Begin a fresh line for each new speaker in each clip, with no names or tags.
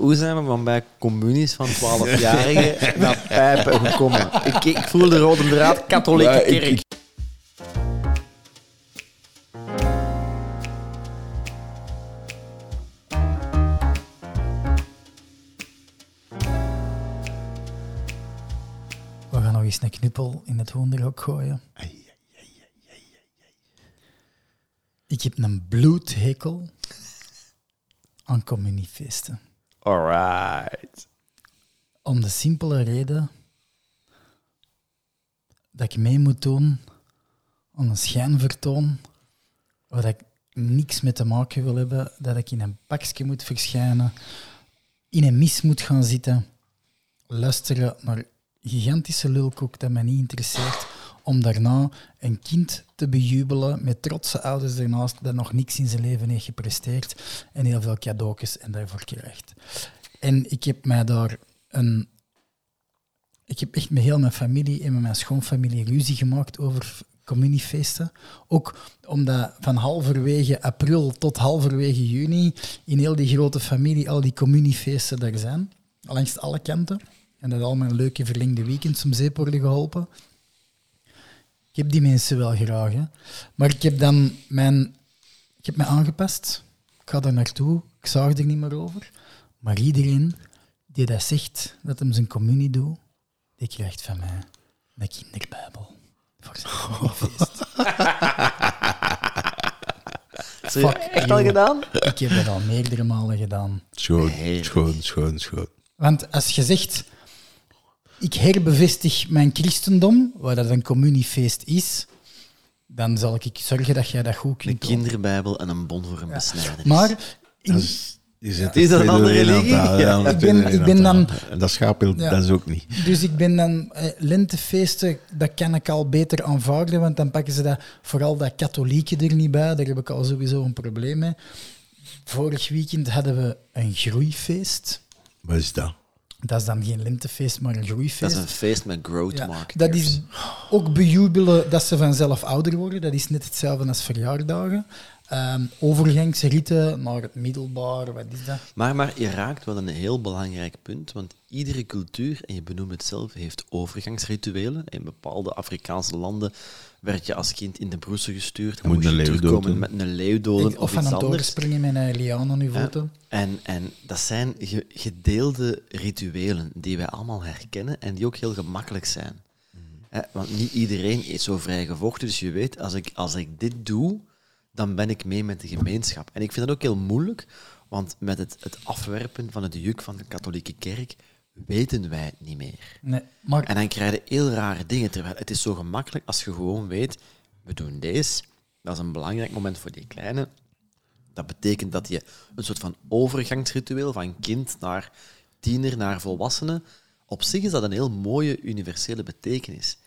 hoe zijn we van bij communies van 12-jarigen naar pijpen gekomen? Ik, ik voel de rode draad, katholieke
Maar ik-
kerk.
ik-
We gaan nog eens een knuppel in het hoenderhok gooien. Ik heb een bloedhekel aan communiefeesten.
Alright.
Om de simpele reden dat ik mee moet doen aan een schijnvertoon waar ik niks mee te maken wil hebben, dat ik in een pakje moet verschijnen, in een mis moet gaan zitten, luisteren naar gigantische lulkoek dat mij niet interesseert, om daarna een kind te bejubelen met trotse ouders ernaast dat nog niks in zijn leven heeft gepresteerd en heel veel cadeautjes en daarvoor krijgt. En ik heb mij daar een. Ik heb echt met heel mijn familie en met mijn schoonfamilie ruzie gemaakt over communiefeesten. Ook omdat van halverwege april tot halverwege juni in heel die grote familie al die communiefeesten daar zijn. Langs alle kanten. En dat al mijn leuke verlengde weekends om zeep worden geholpen. Ik heb die mensen wel graag. Hè. Maar ik heb dan mijn... Ik heb mij aangepast. Ik ga daar naartoe. Ik zag er niet meer over. Maar iedereen die dat zegt, dat hem zijn communie doet, die krijgt van mij een kinderbijbel. Voor zijn communiefeest.
Fuck
Fuck
echt
you.
al gedaan?
Ik heb dat al meerdere malen gedaan.
Schoon, schoon, schoon, schoon.
Want als je zegt, ik herbevestig mijn christendom, waar dat een communiefeest is, dan zal ik zorgen dat jij dat goed
Een
kunt doen.
kinderbijbel en een bon voor een besnijder.
Maar in-
Je zet
Dus- Is dat
de
een andere
tweede
religie?
aan tafel,
Ja.
de
Ik
tweede
ben- ik
aan
ben
tafel.
dan-
En dat schaapbeeld,
Ja.
dat is ook niet.
dus ik ben dan eh, lentefeesten, dat kan ik al beter aanvaarden, want dan pakken ze dat, vooral dat katholieke er niet bij, daar heb ik al sowieso een probleem mee. Vorig weekend hadden we een groeifeest.
Wat is dat?
Dat is dan geen lentefeest, maar een groeifeest.
Dat is een feest met growth
Ja,
market.
dat is ook bejubelen dat ze vanzelf ouder worden. Dat is net hetzelfde als verjaardagen. Ehm overgangsriten naar het middelbaar, wat is dat?
Maar, maar je raakt wel een heel belangrijk punt, want iedere cultuur, en je benoemt het zelf, heeft overgangsrituelen. In bepaalde Afrikaanse landen werd je als kind in de broeser gestuurd. Dan
Moet
moest je
een leeuw
terugkomen
doden.
met een leeuw doden
of
of
van
iets
een toren
anders.
springen met een liaan aan uw voeten.
En, en dat zijn ge- gedeelde rituelen die wij allemaal herkennen en die ook heel gemakkelijk zijn. Hè, want niet iedereen is zo vrijgevochten, dus je weet, als ik, als ik dit doe, dan ben ik mee met de gemeenschap. En ik vind dat ook heel moeilijk, want met het, het afwerpen van het juk van de katholieke kerk weten wij het niet meer.
Nee, maar
En dan krijg je heel rare dingen, terwijl het is zo gemakkelijk als je gewoon weet, we doen deze, dat is een belangrijk moment voor die kleine, dat betekent dat je een soort van overgangsritueel van kind naar tiener naar volwassene. Op zich is dat een heel mooie universele betekenis.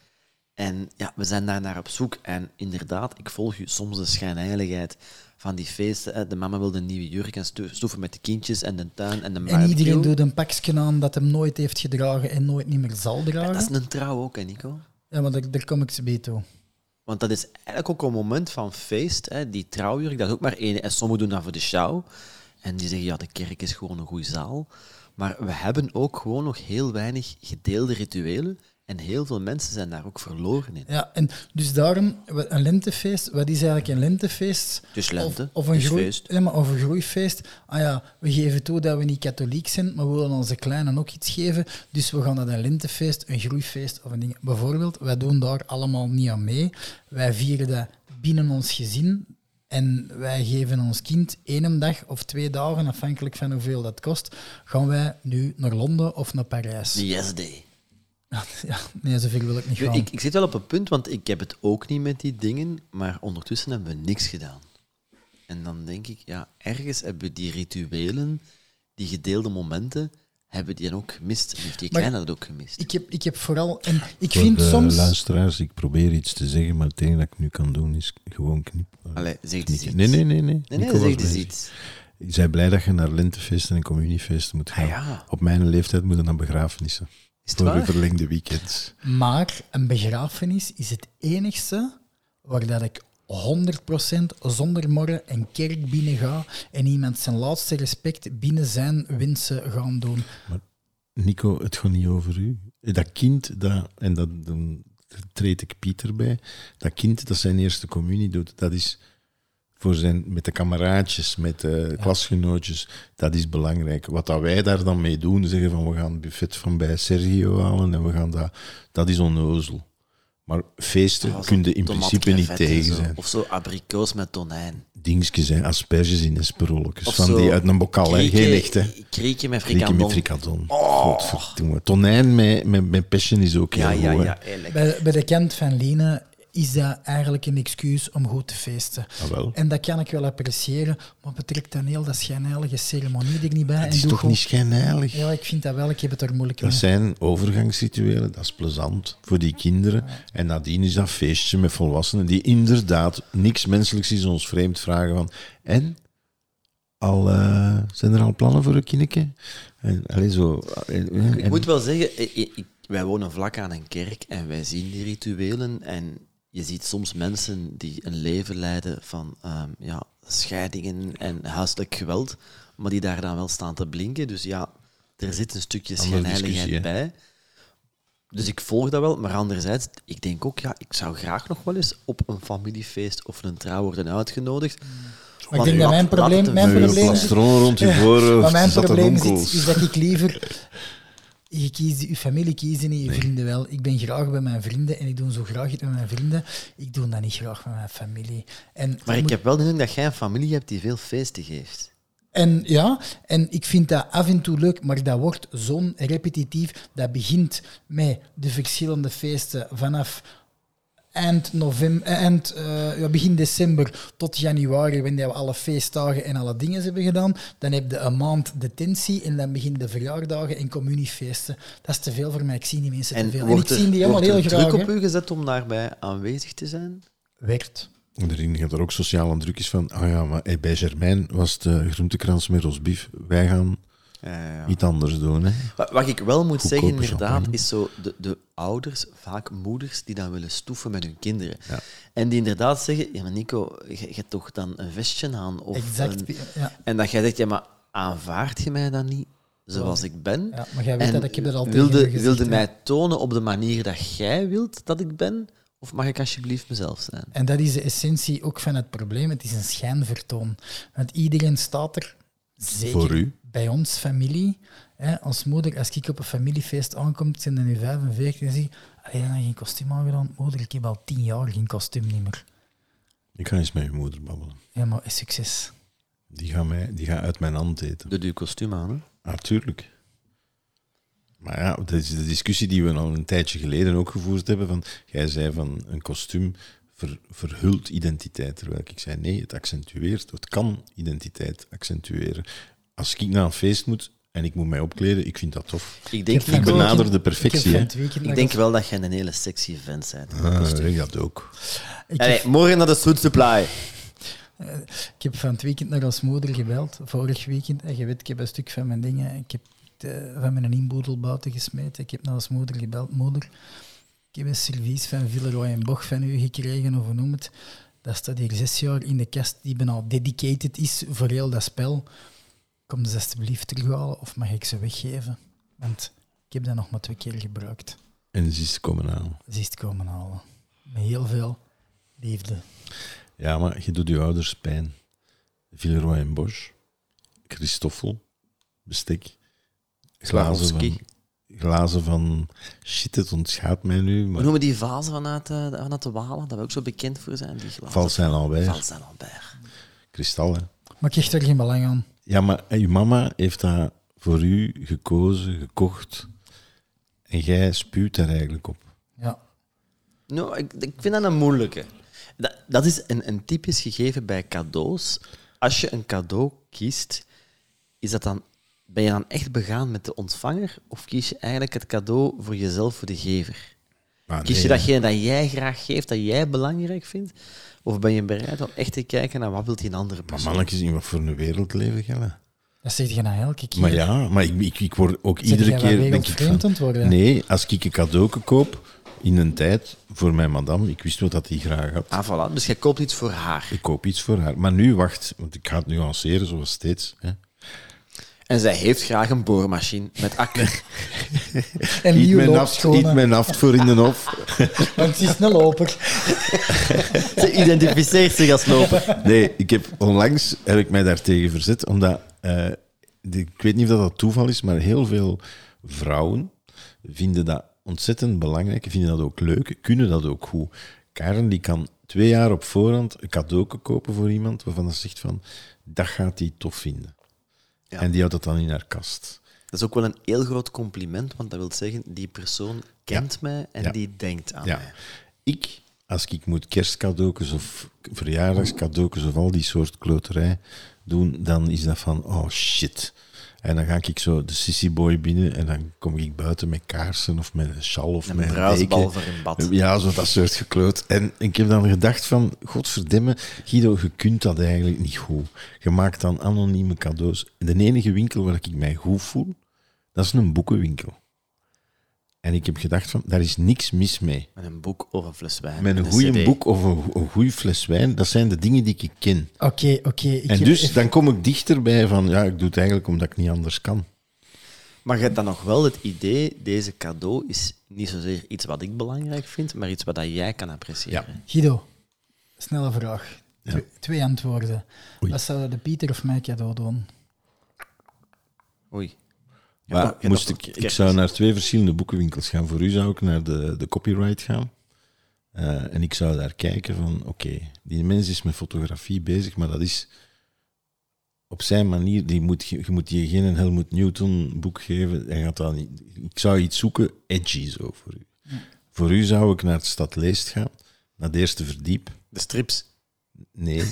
En ja, we zijn daar naar op zoek. En inderdaad, ik volg u soms de schijnheiligheid van die feesten. hè. De mama wil een nieuwe jurk en stu- stoeven met de kindjes en de tuin en de
en
barbecue.
iedereen doet een pakje aan dat hem nooit heeft gedragen en nooit niet meer zal dragen.
Dat is een trouw ook, hè, Nico?
Ja, maar daar, daar kom ik ze bij toe.
Want dat is eigenlijk ook een moment van feest. Hè? Die trouwjurk, dat is ook maar één. En sommigen doen dat voor de show. En die zeggen, ja, de kerk is gewoon een goede zaal. Maar we hebben ook gewoon nog heel weinig gedeelde rituelen. En heel veel mensen zijn daar ook verloren in.
Ja, en dus daarom, wa- een lentefeest, wat is eigenlijk een lentefeest?
Dus lente,
Of, of een
dus
groei,
feest.
Ja, maar of een groeifeest. Ah ja, we geven toe dat we niet katholiek zijn, maar we willen onze kleinen ook iets geven. Dus we gaan naar een lentefeest, een groeifeest of een ding. Bijvoorbeeld, wij doen daar allemaal niet aan mee. Wij vieren dat binnen ons gezin. En wij geven ons kind één dag of twee dagen, afhankelijk van hoeveel dat kost, gaan wij nu naar Londen of naar Parijs.
De Yes Day.
Ja, nee, zover wil ik niet gaan.
Ik, ik zit wel op een punt, want ik heb het ook niet met die dingen. Maar ondertussen hebben we niks gedaan. En dan denk ik, ja, ergens hebben we die rituelen, die gedeelde momenten, hebben die dan ook gemist. En heeft die
Maar-
kleine dat ook gemist.
Ik heb, ik heb vooral... En ik
Voor
vind
de
soms...
luisteraars, ik probeer iets te zeggen, maar het enige dat ik nu kan doen is gewoon knippen.
Allee, zeg eens iets.
Nee, nee, nee. Nee,
Nee, nee,
Nico was
zeg dus
bezig.
iets.
Ik ben blij dat je naar lentefeesten en communiefeesten moet gaan.
Ah, ja.
Op mijn leeftijd moeten naar begrafenissen.
Is het
voor de
waar?
verlengde weekends.
Maar een begrafenis is het enigste waar dat ik 100% zonder morren een kerk binnen ga en iemand zijn laatste respect binnen zijn wensen gaan doen.
Nico, het gaat niet over u. Dat kind, dat, en dat, dan treed ik Pieter bij, dat kind dat zijn eerste communie doet, dat is voor zijn, met de kameraadjes, met de klasgenootjes, dat is belangrijk. Wat dat wij daar dan mee doen, zeggen van we gaan het buffet van bij Sergio halen en we gaan dat, dat is onnozel. Maar feesten
Ah, zo
kun je in
tomaten
principe
en
niet
vet en
tegen
zo.
zijn.
Of zo abrikoos met tonijn.
Dingetjes zijn, asperges in esperolletjes,
Of
van
zo eh,
die uit een bokal, hè? geen echte.
Krieken met
Rieken met
frikandel.
frikandel.
Oh.
Godverdomme. Tonijn met, met, met passion is ook
Ja,
heel
ja,
goed.
ja,
hè.
eigenlijk.
Bij, bij de kant van Lene is dat eigenlijk een excuus om goed te feesten.
Jawel.
En dat kan ik wel appreciëren, maar betrekt dan heel dat schijnheilige ceremonie er niet bij.
Het
en
is
doe
toch
gewoon-
niet schijnheilig?
Ja, ik vind dat wel. Ik heb het er moeilijk
Dat
mee.
zijn overgangsrituelen, dat is plezant voor die kinderen. En nadien is dat feestje met volwassenen die inderdaad niks menselijks is ons vreemd vragen van... En? Al, eh, zijn er al plannen voor een kindje? En, allee, zo... eh, en- en-
Ik moet wel zeggen, eh, eh, ik- wij wonen vlak aan een kerk en wij zien die rituelen. En je ziet soms mensen die een leven leiden van ehm, ja, scheidingen en huiselijk geweld, maar die daar dan wel staan te blinken. Dus ja, er zit een stukje
Andere discussie,
schijnheiligheid
hè?
bij. Dus ik volg dat wel, maar anderzijds, ik denk ook, ja, ik zou graag nog wel eens op een familiefeest of een trouw worden uitgenodigd.
Maar ik denk dat mijn probleem- mijn
Een
probleem is-
plastron rond je
Maar
voorhoofd,
mijn
zat er
probleem zit,
onkels.
is dat ik liever... Je kiest je familie kiezen niet, je vrienden wel. Ik ben graag bij mijn vrienden en ik doe zo graag iets met mijn vrienden. Ik doe dat niet graag met mijn familie. En
Maar ik
moet-
heb wel de indruk dat jij een familie hebt die veel feesten geeft.
En ja, en ik vind dat af en toe leuk, maar dat wordt zo'n repetitief. Dat begint met de verschillende feesten vanaf eind, november, eind eh, ja, begin december tot januari, wanneer we alle feestdagen en alle dingen hebben gedaan. Dan heb je een maand detentie en dan beginnen de verjaardagen en communiefeesten. Dat is te veel voor mij. Ik zie die mensen te veel. En ik
wordt
zie die allemaal
wordt
heel
er
graag.
druk
hè.
op u gezet om daarbij aanwezig te zijn?
Werd.
Iedereen gaat er ook sociaal aan druk is van... Ah ja, maar hey, bij Germain was het eh, groentekrans met rosbief. Wij gaan iets anders doen, hè.
Wa- Wat ik wel moet zeggen,
Goedkope
inderdaad,
champagne.
is zo de, de ouders, vaak moeders, die dan willen stoeven met hun kinderen.
Ja.
En die inderdaad zeggen, ja, maar Nico, je je hebt toch dan een vestje aan? Of
Exact.
een-
Ja.
En dat jij zegt, ja, maar aanvaard je mij dan niet zoals ik ben?
Ja, maar jij weet
En
dat ik heb dat al tegen je
wilde,
gezegd,
wilde
hè.
mij tonen op de manier dat jij wilt dat ik ben? Of mag ik alsjeblieft mezelf zijn?
En dat is de essentie ook van het probleem. Het is een schijnvertoon. Want iedereen staat er, zeker
Voor u.
bij ons familie. Hè, als moeder, als ik op een familiefeest aankom, zijn er nu 45 en zeg ik, "Allee, dan heb je geen kostuum aangedaan. Moeder, ik heb al tien jaar geen kostuum niet meer.
Ik ga eens met je moeder babbelen.
Helemaal succes.
Die gaat, mij, die gaat uit mijn hand eten.
Doe je kostuum aan, hè?
Natuurlijk. maar ja, dat is de discussie die we al een tijdje geleden ook gevoerd hebben. Van, jij zei van een kostuum ver- verhult identiteit. Terwijl ik zei nee, het accentueert. Het kan identiteit accentueren. Als ik naar een feest moet en ik moet mij opkleden, ik vind dat tof.
Ik denk,
heb
Ik
Nico,
van-
benader de
ik heb
perfectie.
van
Hè?
het weekend
ik
nog
denk
eens-
wel dat jij een hele sexy vent bent.
Ah, ik dat ook.
ik heb-
Allee, morgen naar de Sweet Supply.
Ik heb van het weekend nog als moeder gebeld, vorig weekend. En je weet, ik heb een stuk van mijn dingen. Ik heb de- van mijn inboedel buiten gesmeten. Ik heb nog als moeder gebeld. Moeder, ik heb een servies van Villeroy en Boch van u gekregen, of hoe noem het. Dat staat hier zes jaar in de kast, die bijna dedicated is voor heel dat spel. Kom ze alsjeblieft terughalen, of mag ik ze weggeven? Want ik heb dat nog maar twee keer gebruikt.
En ze is komen aan.
Ze is het komen halen. Met heel veel liefde.
Ja, maar je doet je ouders pijn. Villeroy en Bosch, Christoffel, bestek, glazen
Swarovski.
van, glazen van... Shit, het ontschaadt mij nu,
We
maar
noemen die vazen vanuit, eh, vanuit de Walen, dat we ook zo bekend voor zijn. Die glazen.
vals zijn alweer.
Vals en Albert.
Kristal, hè.
Maar ik hecht er geen belang aan.
Ja, maar eh, je mama heeft dat voor u gekozen, gekocht. En jij spuwt daar eigenlijk op.
Ja.
Nou, ik, ik vind dat een moeilijke. Dat, dat is een, een typisch gegeven bij cadeaus. Als je een cadeau kiest, is dat dan, ben je dan echt begaan met de ontvanger? Of kies je eigenlijk het cadeau voor jezelf, voor de gever?
Maar
Kies
nee,
je datgene dat jij graag geeft, dat jij belangrijk vindt? Of ben je bereid om echt te kijken naar wat wil die andere
Maar
persoon?
mannetjes, in wat voor een wereld leven jij?
Dat zeg je nou elke keer.
Maar ja, maar ik, ik, ik word ook
Zit
iedere
jij wel
keer... denk ik
wereldvreemd
van,
aan het worden?
Nee, als ik een cadeau koop, in een tijd voor mijn madame, ik wist wat dat die graag had.
Ah, voilà. Dus jij koopt iets voor haar.
Ik koop iets voor haar. Maar nu, wacht, want ik ga het nuanceren zoals steeds. Hè.
En zij heeft graag een boormachine met akker.
En
Eet,
nieuw
mijn haft, eet
loopschoenen.
mijn haft voor in de hof.
Want ze is een loper.
Ze identificeert zich als loper.
Nee, ik heb, onlangs heb ik mij daartegen verzet, omdat eh, de- ik weet niet of dat, dat toeval is, maar heel veel vrouwen vinden dat ontzettend belangrijk, vinden dat ook leuk, kunnen dat ook goed. Karen die kan twee jaar op voorhand een cadeau kopen voor iemand waarvan ze zegt van, dat gaat hij tof vinden.
Ja.
En die houdt dat dan in haar kast.
Dat is ook wel een heel groot compliment, want dat wil zeggen, die persoon kent mij en
Ja.
die denkt aan
Ja.
mij.
Ik, als ik moet kerstcadeautjes of verjaardagscadeautjes of al die soort kloterij doen, dan is dat van, oh shit. En dan ga ik zo de sissy boy binnen en dan kom ik buiten met kaarsen of met een sjal of
Een
met een
bruisbal
deken.
voor in bad.
Ja, zo dat soort gekleurd. En ik heb dan gedacht van, godverdomme, Guido, je kunt dat eigenlijk niet goed. Je maakt dan anonieme cadeaus. De enige winkel waar ik mij goed voel, dat is een boekenwinkel. En ik heb gedacht van, daar is niks mis mee.
Met een boek of een fles wijn.
Met
en
een goede
CD.
boek of een, go- een goede fles wijn, dat zijn de dingen die ik ken.
Oké, oké. ik
En
heb
dus
even-
dan kom ik dichterbij van, ja, ik doe het eigenlijk omdat ik niet anders kan.
Maar je hebt dan nog wel het idee, deze cadeau is niet zozeer iets wat ik belangrijk vind, maar iets wat dat jij kan appreciëren.
Ja.
Guido, snelle vraag. Tw- Twee antwoorden. Wat zouden de Pieter of mij cadeau doen?
Oei.
Maar
dat- ja,
moest
dat-
ik,
dat-
ik zou naar twee verschillende boekenwinkels gaan. Voor u zou ik naar de, de copyright gaan. Eh, en ik zou daar kijken van, oké, die mens is met fotografie bezig, maar dat is op zijn manier, die moet, je je moet die geen Helmut Newton boek geven. Hij gaat dat niet, ik zou iets zoeken, edgy zo voor u. Voor u zou ik naar de stad Leest gaan, naar het eerste verdiep.
De strips.
Nee.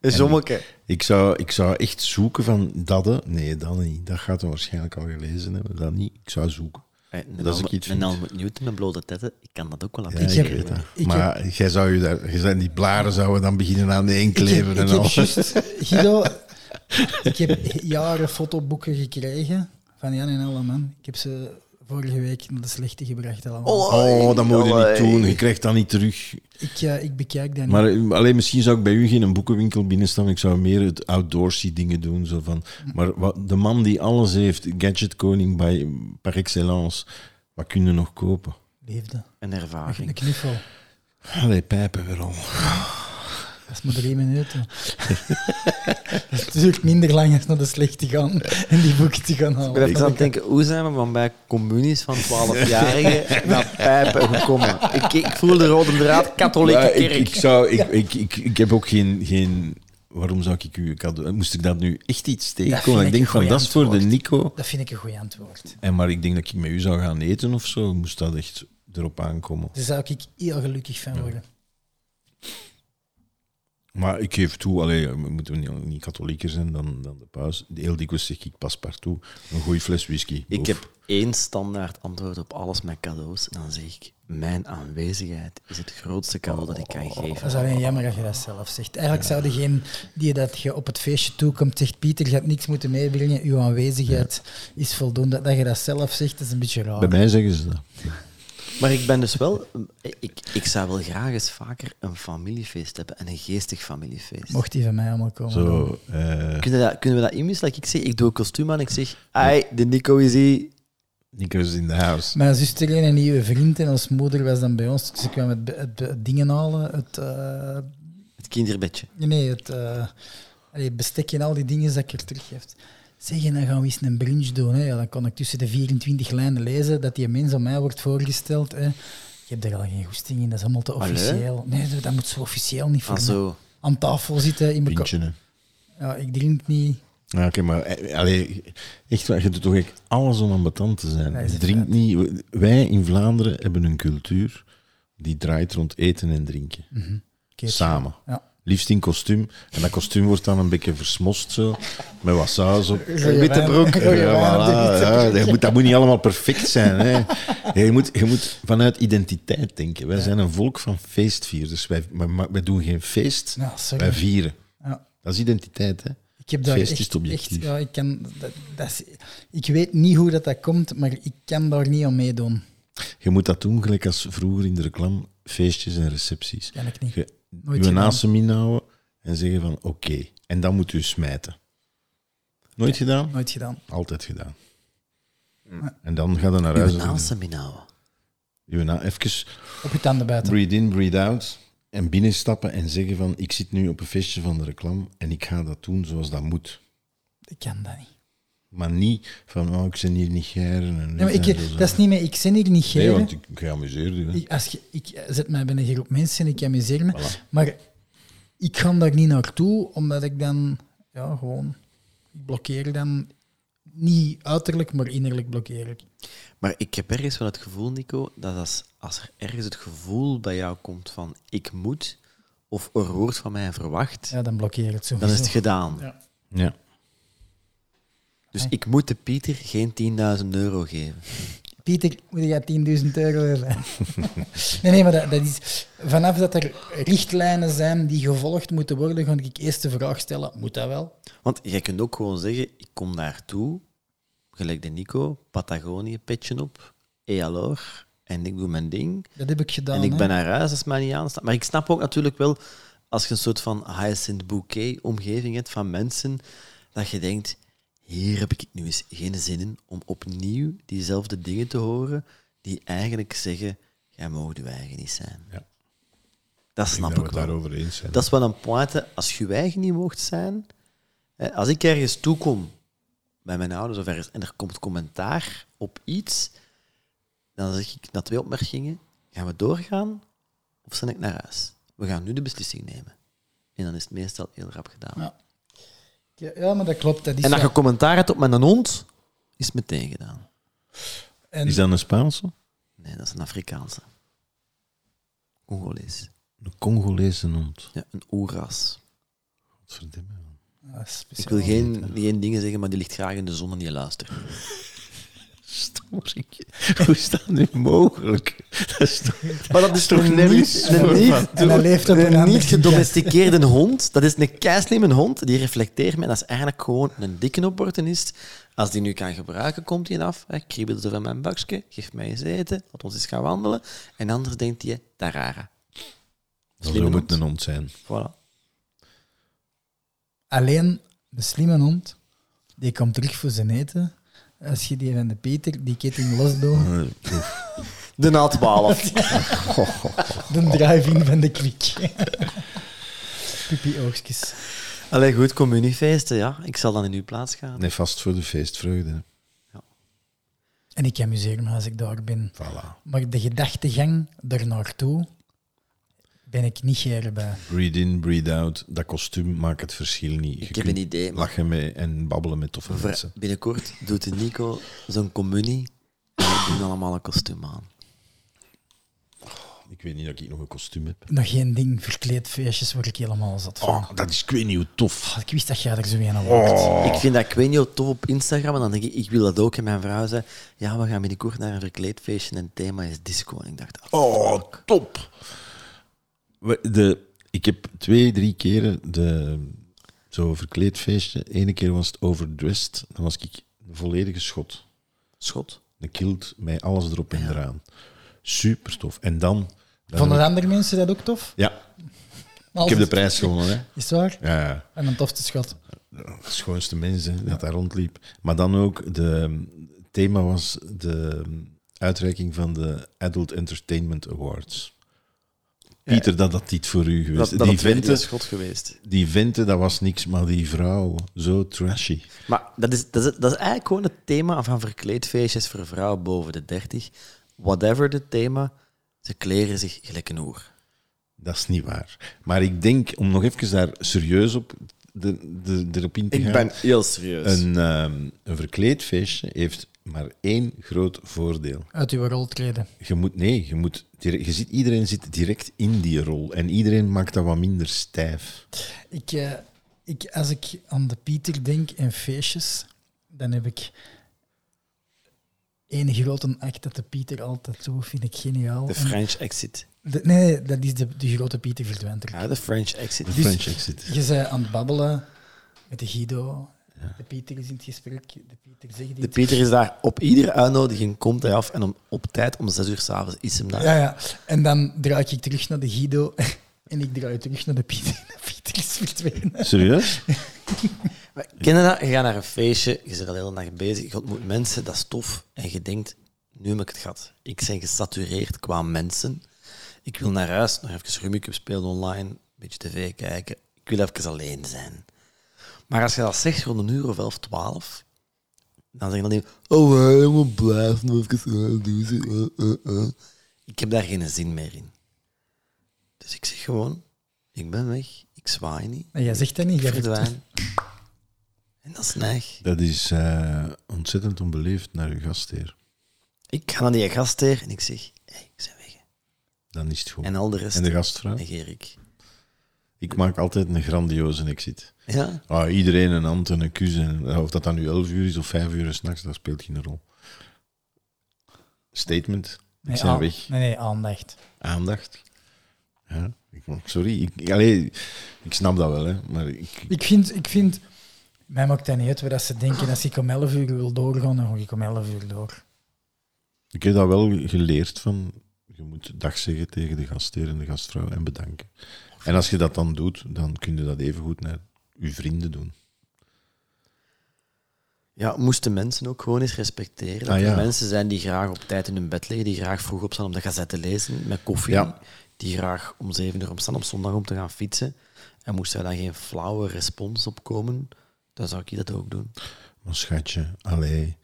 Een zommeke.
Ik zou, ik zou echt zoeken van dat. hè. Nee, dat niet. Dat gaat hij waarschijnlijk al gelezen hebben. Dat niet. Ik zou zoeken.
En
Dat is ook iets
En
vind.
dan moet Newton en blote tetten, ik kan dat ook wel
Ja,
appreciëren.
ik,
heb-
weet dat.
ik
maar jij zou je daar, jij zou- die blaren zouden dan beginnen aan de een kleven
ik heb,
en
ik heb
al.
juist, Guido, ik heb jaren fotoboeken gekregen van Jan en alle man. Ik heb ze vorige week naar de slechte gebracht. Allemaal.
Oh, dat moet je niet doen. Je krijgt dat niet terug.
Ik, eh, ik bekijk dat niet.
Maar eh, alleen misschien zou ik bij u geen boekenwinkel binnenstaan. Ik zou meer het outdoorsy dingen doen. Zo van. Maar wat, de man die alles heeft, gadgetkoning bij, par excellence, wat kun je nog kopen?
Liefde.
Een
Een
ervaring.
knuffel.
Allee, pijpen weer al.
Dat is maar drie minuten. Het duurt minder lang als naar de slechte gaan en die boeken te gaan
Ik
halen.
ben even aan het denken, hoe zijn we van bij communies van 12-jarigen naar pijpen gekomen? Ik, ik voel de rode draad, katholieke
Maar
kerk.
Ik, ik, zou, ik, ik, ik, ik heb ook geen, geen... Waarom zou ik u een cadeau... Moest ik daar nu echt iets
Dat vind
tegenkomen? Dat
ik
ik denk
een
van,
goeie
dat is voor de Nico.
Dat vind ik een goed antwoord.
En maar ik denk dat ik met u zou gaan eten of zo. Moest dat echt erop aankomen.
Daar zou ik heel gelukkig van worden.
Maar ik geef toe, allee, we moeten niet, niet katholieker zijn dan, dan de paus. Heel dikwijls zeg ik pas partout. Een goede fles whisky.
Ik
Boef.
heb één standaard antwoord op alles met cadeaus. En dan zeg ik, mijn aanwezigheid is het grootste cadeau dat ik kan
Dat
geven.
is alleen jammer dat je dat zelf zegt. Eigenlijk zou degene die dat je op het feestje toekomt zegt, Pieter, je hebt niks moeten meebrengen, uw aanwezigheid is voldoende. Dat je dat zelf zegt, is een beetje raar.
Bij mij zeggen ze dat.
Maar ik ben dus wel... Ik, ik zou wel graag eens vaker een familiefeest hebben. En een geestig familiefeest.
Mocht die van mij allemaal komen. dan.
Zo, eh,
Kunnen, we dat, kunnen we dat inwisselen? Like ik zeg, ik doe een kostuum aan. Ik zeg, ai, de Nico is hier.
Nico is in de huis.
Mijn zus kreeg een nieuwe vriend en ons moeder was dan bij ons. Ze kwam het, be- het, be- het dingen halen, het, eh,
Het kinderbedje.
nee, het eh, allee, bestek en al die dingen dat ik er teruggeeft. Zeg, en dan gaan we eens een brunch doen. Hè. Ja, dan kon ik tussen de 24 lijnen lezen dat die mens aan mij wordt voorgesteld. Hè. Ik heb daar al geen goesting in, dat is allemaal te
Allee?
officieel. Nee, dat moet zo officieel niet voor
Ah,
mij.
zo.
Aan tafel zitten, in mijn ko-
Pintje, hè.
Ja, ik drink niet.
Ja, oké, maar eh, allee, echt waar, je doet toch echt alles om ambetant te zijn.
Dat is
je drinkt
feit.
niet. Wij in Vlaanderen hebben een cultuur die draait rond eten en drinken.
Keertje.
Samen.
Mhm. Ja.
Liefst in kostuum. En dat kostuum wordt dan een beetje versmost zo, met wat saus op.
witte broek.
Goeie
Ja,
wijn op de
voilà,
witte
ja, dat, moet, dat moet niet allemaal perfect zijn. Hè. Ja, je, moet, je moet vanuit identiteit denken. Wij zijn een volk van feestvierders. Wij, maar, maar wij doen geen feest,
Ja, sorry.
wij vieren.
Ja.
Dat is identiteit. Hè.
Ik heb daar
Feest is
echt,
het objectief.
echt- ja, ik, kan, dat, dat is, ik weet niet hoe dat, dat komt, maar ik kan daar niet aan meedoen.
Je moet dat doen, gelijk als vroeger in de reclame, feestjes en recepties.
Ken ik niet.
Je,
Nooit
je
gedaan.
naast inhouden en zeggen van oké. En dan moet u smijten. Nooit gedaan?
Nooit gedaan.
Altijd gedaan. En dan gaat het naar huis.
Hm. Uw
en zeggen,
naasten inhouden.
uw na- even
Op je tanden buiten.
breathe in, breathe out. En binnenstappen en zeggen van ik zit nu op een feestje van de reclame en ik ga dat doen zoals dat moet.
Ik kan dat niet.
Maar niet van oh, ik ben hier niet geren. En
Nee, maar ik,
dit en zo.
dat is niet meer, ik zin hier niet
Nee,
geren.
want ik geamuseerd. hè.
ik, als je, ik eh, zet mij bij een groep mensen en ik amuseer me. Maar ik ga daar niet naartoe, omdat ik dan ja, gewoon... Ik blokkeer dan niet uiterlijk, maar innerlijk blokkeer ik.
Maar ik heb ergens wel het gevoel, Nico, dat als, als er ergens het gevoel bij jou komt van ik moet, of er wordt van mij verwacht,
Ja, dan blokkeer het sowieso.
dan is het gedaan.
Ja.
Ja.
Dus ik moet de Pieter geen 10.000 euro geven.
Pieter, moet jij 10.000 euro hebben? nee, nee, maar dat, dat is... Vanaf dat er richtlijnen zijn die gevolgd moeten worden, ga ik eerst de vraag stellen, moet dat wel?
Want jij kunt ook gewoon zeggen, ik kom daartoe, gelijk de Nico, Patagonië, petje op, EALOR, en ik doe mijn ding.
Dat heb ik gedaan.
en ik
hè.
ben naar huis als het mij niet aanstaat. Maar ik snap ook natuurlijk wel, als je een soort van hyacinth bouquet-omgeving hebt van mensen, dat je denkt, hier heb ik nu eens geen zin in om opnieuw diezelfde dingen te horen die eigenlijk zeggen, jij mag je eigen niet zijn.
Ja.
Dat
Ik denk
snap ik,
dat we het
wel.
daarover eens zijn.
Dat is wel een pointe. Als je je eigen niet mocht zijn... hè, Als ik ergens toekom bij mijn ouders of ergens, en er komt commentaar op iets, dan zeg ik na twee opmerkingen, gaan we doorgaan of zend ik naar huis? We gaan nu de beslissing nemen. En dan is het meestal heel rap gedaan.
Ja. Ja, ja, maar dat klopt. Dat is
En als
wel-
je commentaar hebt op mijn hond, is het meteen gedaan.
en-
Is dat een Spaanse?
Nee, dat is een Afrikaanse. Congolees.
Een Congolese hond.
Ja, een oeras.
Godverdomme.
Ah, speciaal.
Ik wil geen, geen dingen zeggen, maar die ligt graag in de zon en die luistert.
Storikje. Hoe is dat nu mogelijk? Dat is toch,
Maar dat is
toch
toch een
nergens
niet,
voor
een niet,
van.
En hij leeft op
een
een ander
niet
gebied.
gedomesticeerde hond. Dat is een keislimme hond, die reflecteert me. En dat is eigenlijk gewoon een dikke opportunist. Als die nu kan gebruiken, komt hij af. Hè, kriebelt er van mijn bakje, geeft mij eens eten, laat ons eens gaan wandelen. En anders denkt hij, tarara.
Zo
Slimme
moet een
hond.
hond zijn.
Voilà.
Alleen de slimme hond, die komt terug voor zijn eten. Als je die van de Peter, die ketting losdoet,
De na 12.
de drive-in van de kwik. Pipi oogstjes.
Allee, goed, communiefeesten, ja. Ik zal dan in uw plaats gaan.
Nee, vast voor de feestvreugde.
En ik amuseer me als ik daar ben.
Voilà.
Maar de gedachtegang ernaartoe ben ik niet geren bij.
Breathe in, breathe out. Dat kostuum maakt het verschil niet. Je
Ik heb
kunt
een idee, maar-
Lachen mee en babbelen met toffe mensen.
Binnenkort doet de Nico zo'n communie. En we doen allemaal een kostuum aan.
Ik weet niet dat ik nog een kostuum heb.
Nog geen ding, verkleedfeestjes word ik helemaal zat van.
Oh, dat is, ik weet niet hoe tof.
Ik wist dat jij er zo een aan wacht.
Ik vind dat Quenio tof op Instagram. En dan denk ik, ik wil dat ook. En mijn vrouw zei, ja, we gaan binnenkort naar een verkleedfeestje. En het thema is disco. En ik dacht, oh,
Oh, top. We- De, ik heb twee, drie keren de, zo verkleed feestje. Eén keer was het overdressed. Dan was ik een volledige schot.
schot.
Een kilt met alles erop en eraan. Super tof. En dan... dan
Vonden andere mensen dat ook tof?
Ja, ik
Als
heb de
het-
prijs gewonnen. Hè.
Is het waar?
Ja, ja.
En een tofste schat.
de schoonste mensen hè, dat daar rondliep. Maar dan ook, de, het thema was de uitreiking van de Adult Entertainment Awards. Pieter, dat dat niet voor u geweest. die,
had
venten,
een schot geweest.
die venten, dat was niks, maar die vrouw, zo trashy.
Maar dat is, dat, is, dat is eigenlijk gewoon het thema van verkleedfeestjes voor vrouwen boven de 30. Whatever het thema, ze kleren zich gelijk een oer.
Dat is niet waar. Maar ik denk, om nog even daar serieus op de, de, erop in te gaan...
heel serieus.
Een, ehm, een verkleedfeestje heeft maar één groot voordeel.
Uit uw rol treden.
Je moet, nee, je moet, direct- je ziet, iedereen zit direct in die rol. En iedereen maakt dat wat minder stijf.
Ik, eh, ik, als ik aan de Pieter denk en feestjes, dan heb ik één grote act dat de Pieter altijd doet, vind ik geniaal.
de
En
French exit.
de- nee, nee, dat is de, de grote Pieter verdwijnt er.
Ja, de French exit.
De French exit.
Je bent aan het babbelen met de Guido De Pieter is in het gesprek. De Pieter zegt
De
iets.
Pieter is daar op iedere uitnodiging, komt hij af en om, op tijd om zes uur s'avonds is hem daar.
Ja, ja. En dan draai ik terug naar de Guido en ik draai terug naar de Pieter. De Pieter is verdwenen.
Serieus?
Maar Ken je dat? Je gaat naar een feestje, je bent al de hele dag bezig, je ontmoet mensen, dat is tof. En je denkt, nu heb ik het gehad. Ik ben gesatureerd qua mensen. Ik wil naar huis, nog even rummikub spelen online, een beetje tv kijken. Ik wil even alleen zijn. Maar als je dat zegt rond een uur of elf, twaalf, dan zeg je dan niet, oh, eh, jongen, blijf nog even, eh, doe ze, eh, eh, eh." Ik heb daar geen zin meer in. Dus ik zeg gewoon, ik ben weg, ik zwaai niet,
En jij zegt dat niet.
ik
Jij verdwijnt.
verdwijn. En dat is neig.
Dat is eh, ontzettend onbeleefd naar uw gastheer.
Ik ga naar die gastheer en ik zeg, hey, ik ben weg.
Dan is het goed.
En
En,
al de rest
de gastvrouw?
negeer ik.
Ik maak altijd een grandioze exit.
Ja?
Ah, iedereen een hand en een kus. En, of dat dan nu 11 uur is of 5 uur s'nachts, dat speelt geen rol. Statement. Ik zijn
aan-
weg.
Nee, nee, aandacht.
Aandacht. Ja, ik, sorry. Ik, allee, ik snap dat wel, hè, maar ik,
Ik vind, ik vind, mij maakt dat niet uit wat dat ze denken. Als ik om 11 uur wil doorgaan, dan ga ik om 11 uur door.
ik heb dat wel geleerd van... Je moet dag zeggen tegen de gastheer en de gastvrouw en bedanken. En als je dat dan doet, dan kun je dat even goed naar je vrienden doen.
ja, moesten mensen ook gewoon eens respecteren. Dat
Ah, ja.
er mensen zijn die graag op tijd in hun bed liggen, die graag vroeg opstaan om de gazet te lezen, met koffie.
Ja.
Die graag om zeven uur opstaan op zondag om te gaan fietsen. En moest daar dan geen flauwe respons op komen, dan zou ik dat ook doen.
Maar schatje, allee,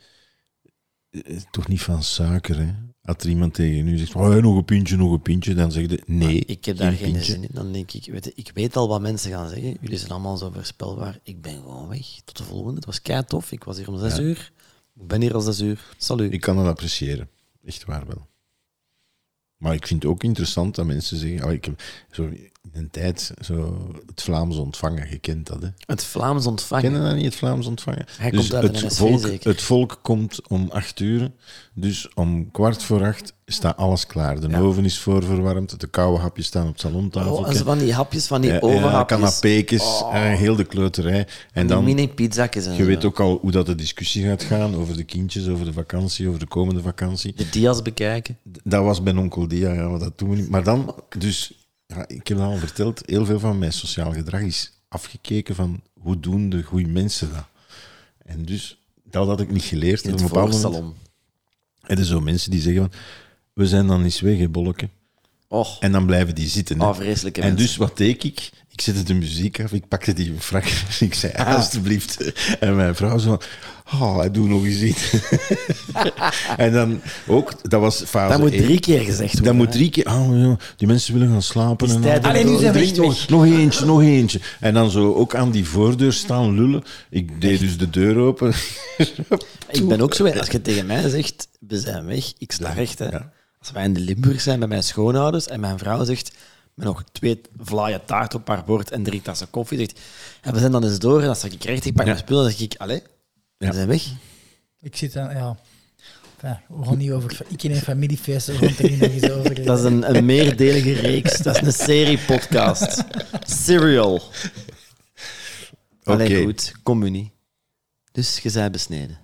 eh, toch niet van suiker, hè? Als er iemand tegen u zegt, oh, hey, nog een pintje, nog een pintje, dan zeg je, nee,
ik heb daar geen
pintje.
zin in. Dan denk ik, weet je, ik weet al wat mensen gaan zeggen. Jullie zijn allemaal zo voorspelbaar. Ik ben gewoon weg. Tot de volgende. Het was kei tof. Ik was hier om zes
Ja.
uur. Ik ben hier al zes uur. Salut.
Ik kan dat appreciëren, echt waar wel. Maar ik vind het ook interessant dat mensen zeggen, allee, ik heb zo in een tijd zo het Vlaams ontvangen, je kent dat, hè?
het Vlaams ontvangen.
Kennen dat niet, het Vlaams ontvangen?
Hij
dus
komt uit
het,
een NSV
volk,
zeker.
het volk komt om acht uur. Dus om kwart voor acht staat alles klaar. De
Ja.
oven is voorverwarmd, de koude hapjes staan op het salontafeltje.
Oh, en zo van die hapjes, van die
Ja, ja,
overhapjes. Oh.
canapékes, eh, heel de kleuterij. En dan,
mini pizzakjes en
je
zo.
weet ook al hoe dat de discussie gaat gaan over de kindjes, over de vakantie, over de komende vakantie.
De dia's bekijken.
D- Dat was bij onkel Dia, ja, maar dat doen we niet. Maar dan, dus, ja, ik heb dat al verteld, heel veel van mijn sociaal gedrag is afgekeken van hoe doen de goede mensen dat. En dus, dat had ik niet geleerd.
In
Op
het
een bepaald moment
voorsalon.
heb je zo mensen die zeggen van, we zijn dan eens weg, hè, bolleke.
Och,
En dan blijven die zitten. hè.
oh, vreselijke
En
mensen.
dus wat deed ik? Ik zette de muziek af, ik pakte die frak ik zei,
Ah.
alstublieft. En mijn vrouw zo van, oh, hij doet nog eens iets. en dan ook, dat was fase
dat moet
één.
drie keer gezegd worden.
Dat moet
hè.
drie keer, oh, ja, die mensen willen gaan slapen.
Het is
en
tijd
al.
Allee,
om-
nu zijn we
drie-
echt
nog, nog eentje, nog eentje. En dan zo ook aan die voordeur staan lullen. Ik deed dus de deur open.
Ik ben ook zo. Als je tegen mij zegt, we zijn weg, ik sla recht. Hè.
Ja.
Als wij in de Limburg zijn bij mijn schoonouders en mijn vrouw zegt, met nog twee vlaaien taart op haar bord en drie tassen koffie, zegt, en we zijn dan eens door en dan zeg ik recht, ik pak mijn spullen en dan zeg ik, allee,
Ja.
we zijn weg.
Ik zit aan, ja. Enfin, we gaan niet over. Ik in een familiefeest, we gaan het er niet nog eens over.
Dat is een, een meerdelige reeks. Dat is een serie-podcast. Serial. Allee, goed, communie. Dus je bent besneden.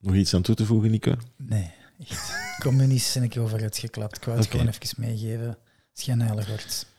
Nog iets aan toe te voegen, Nico?
Nee, echt. Communies ben ik over uitgeklapt. Ik wou het
Oké.
gewoon even meegeven. Het is geen heilig woord.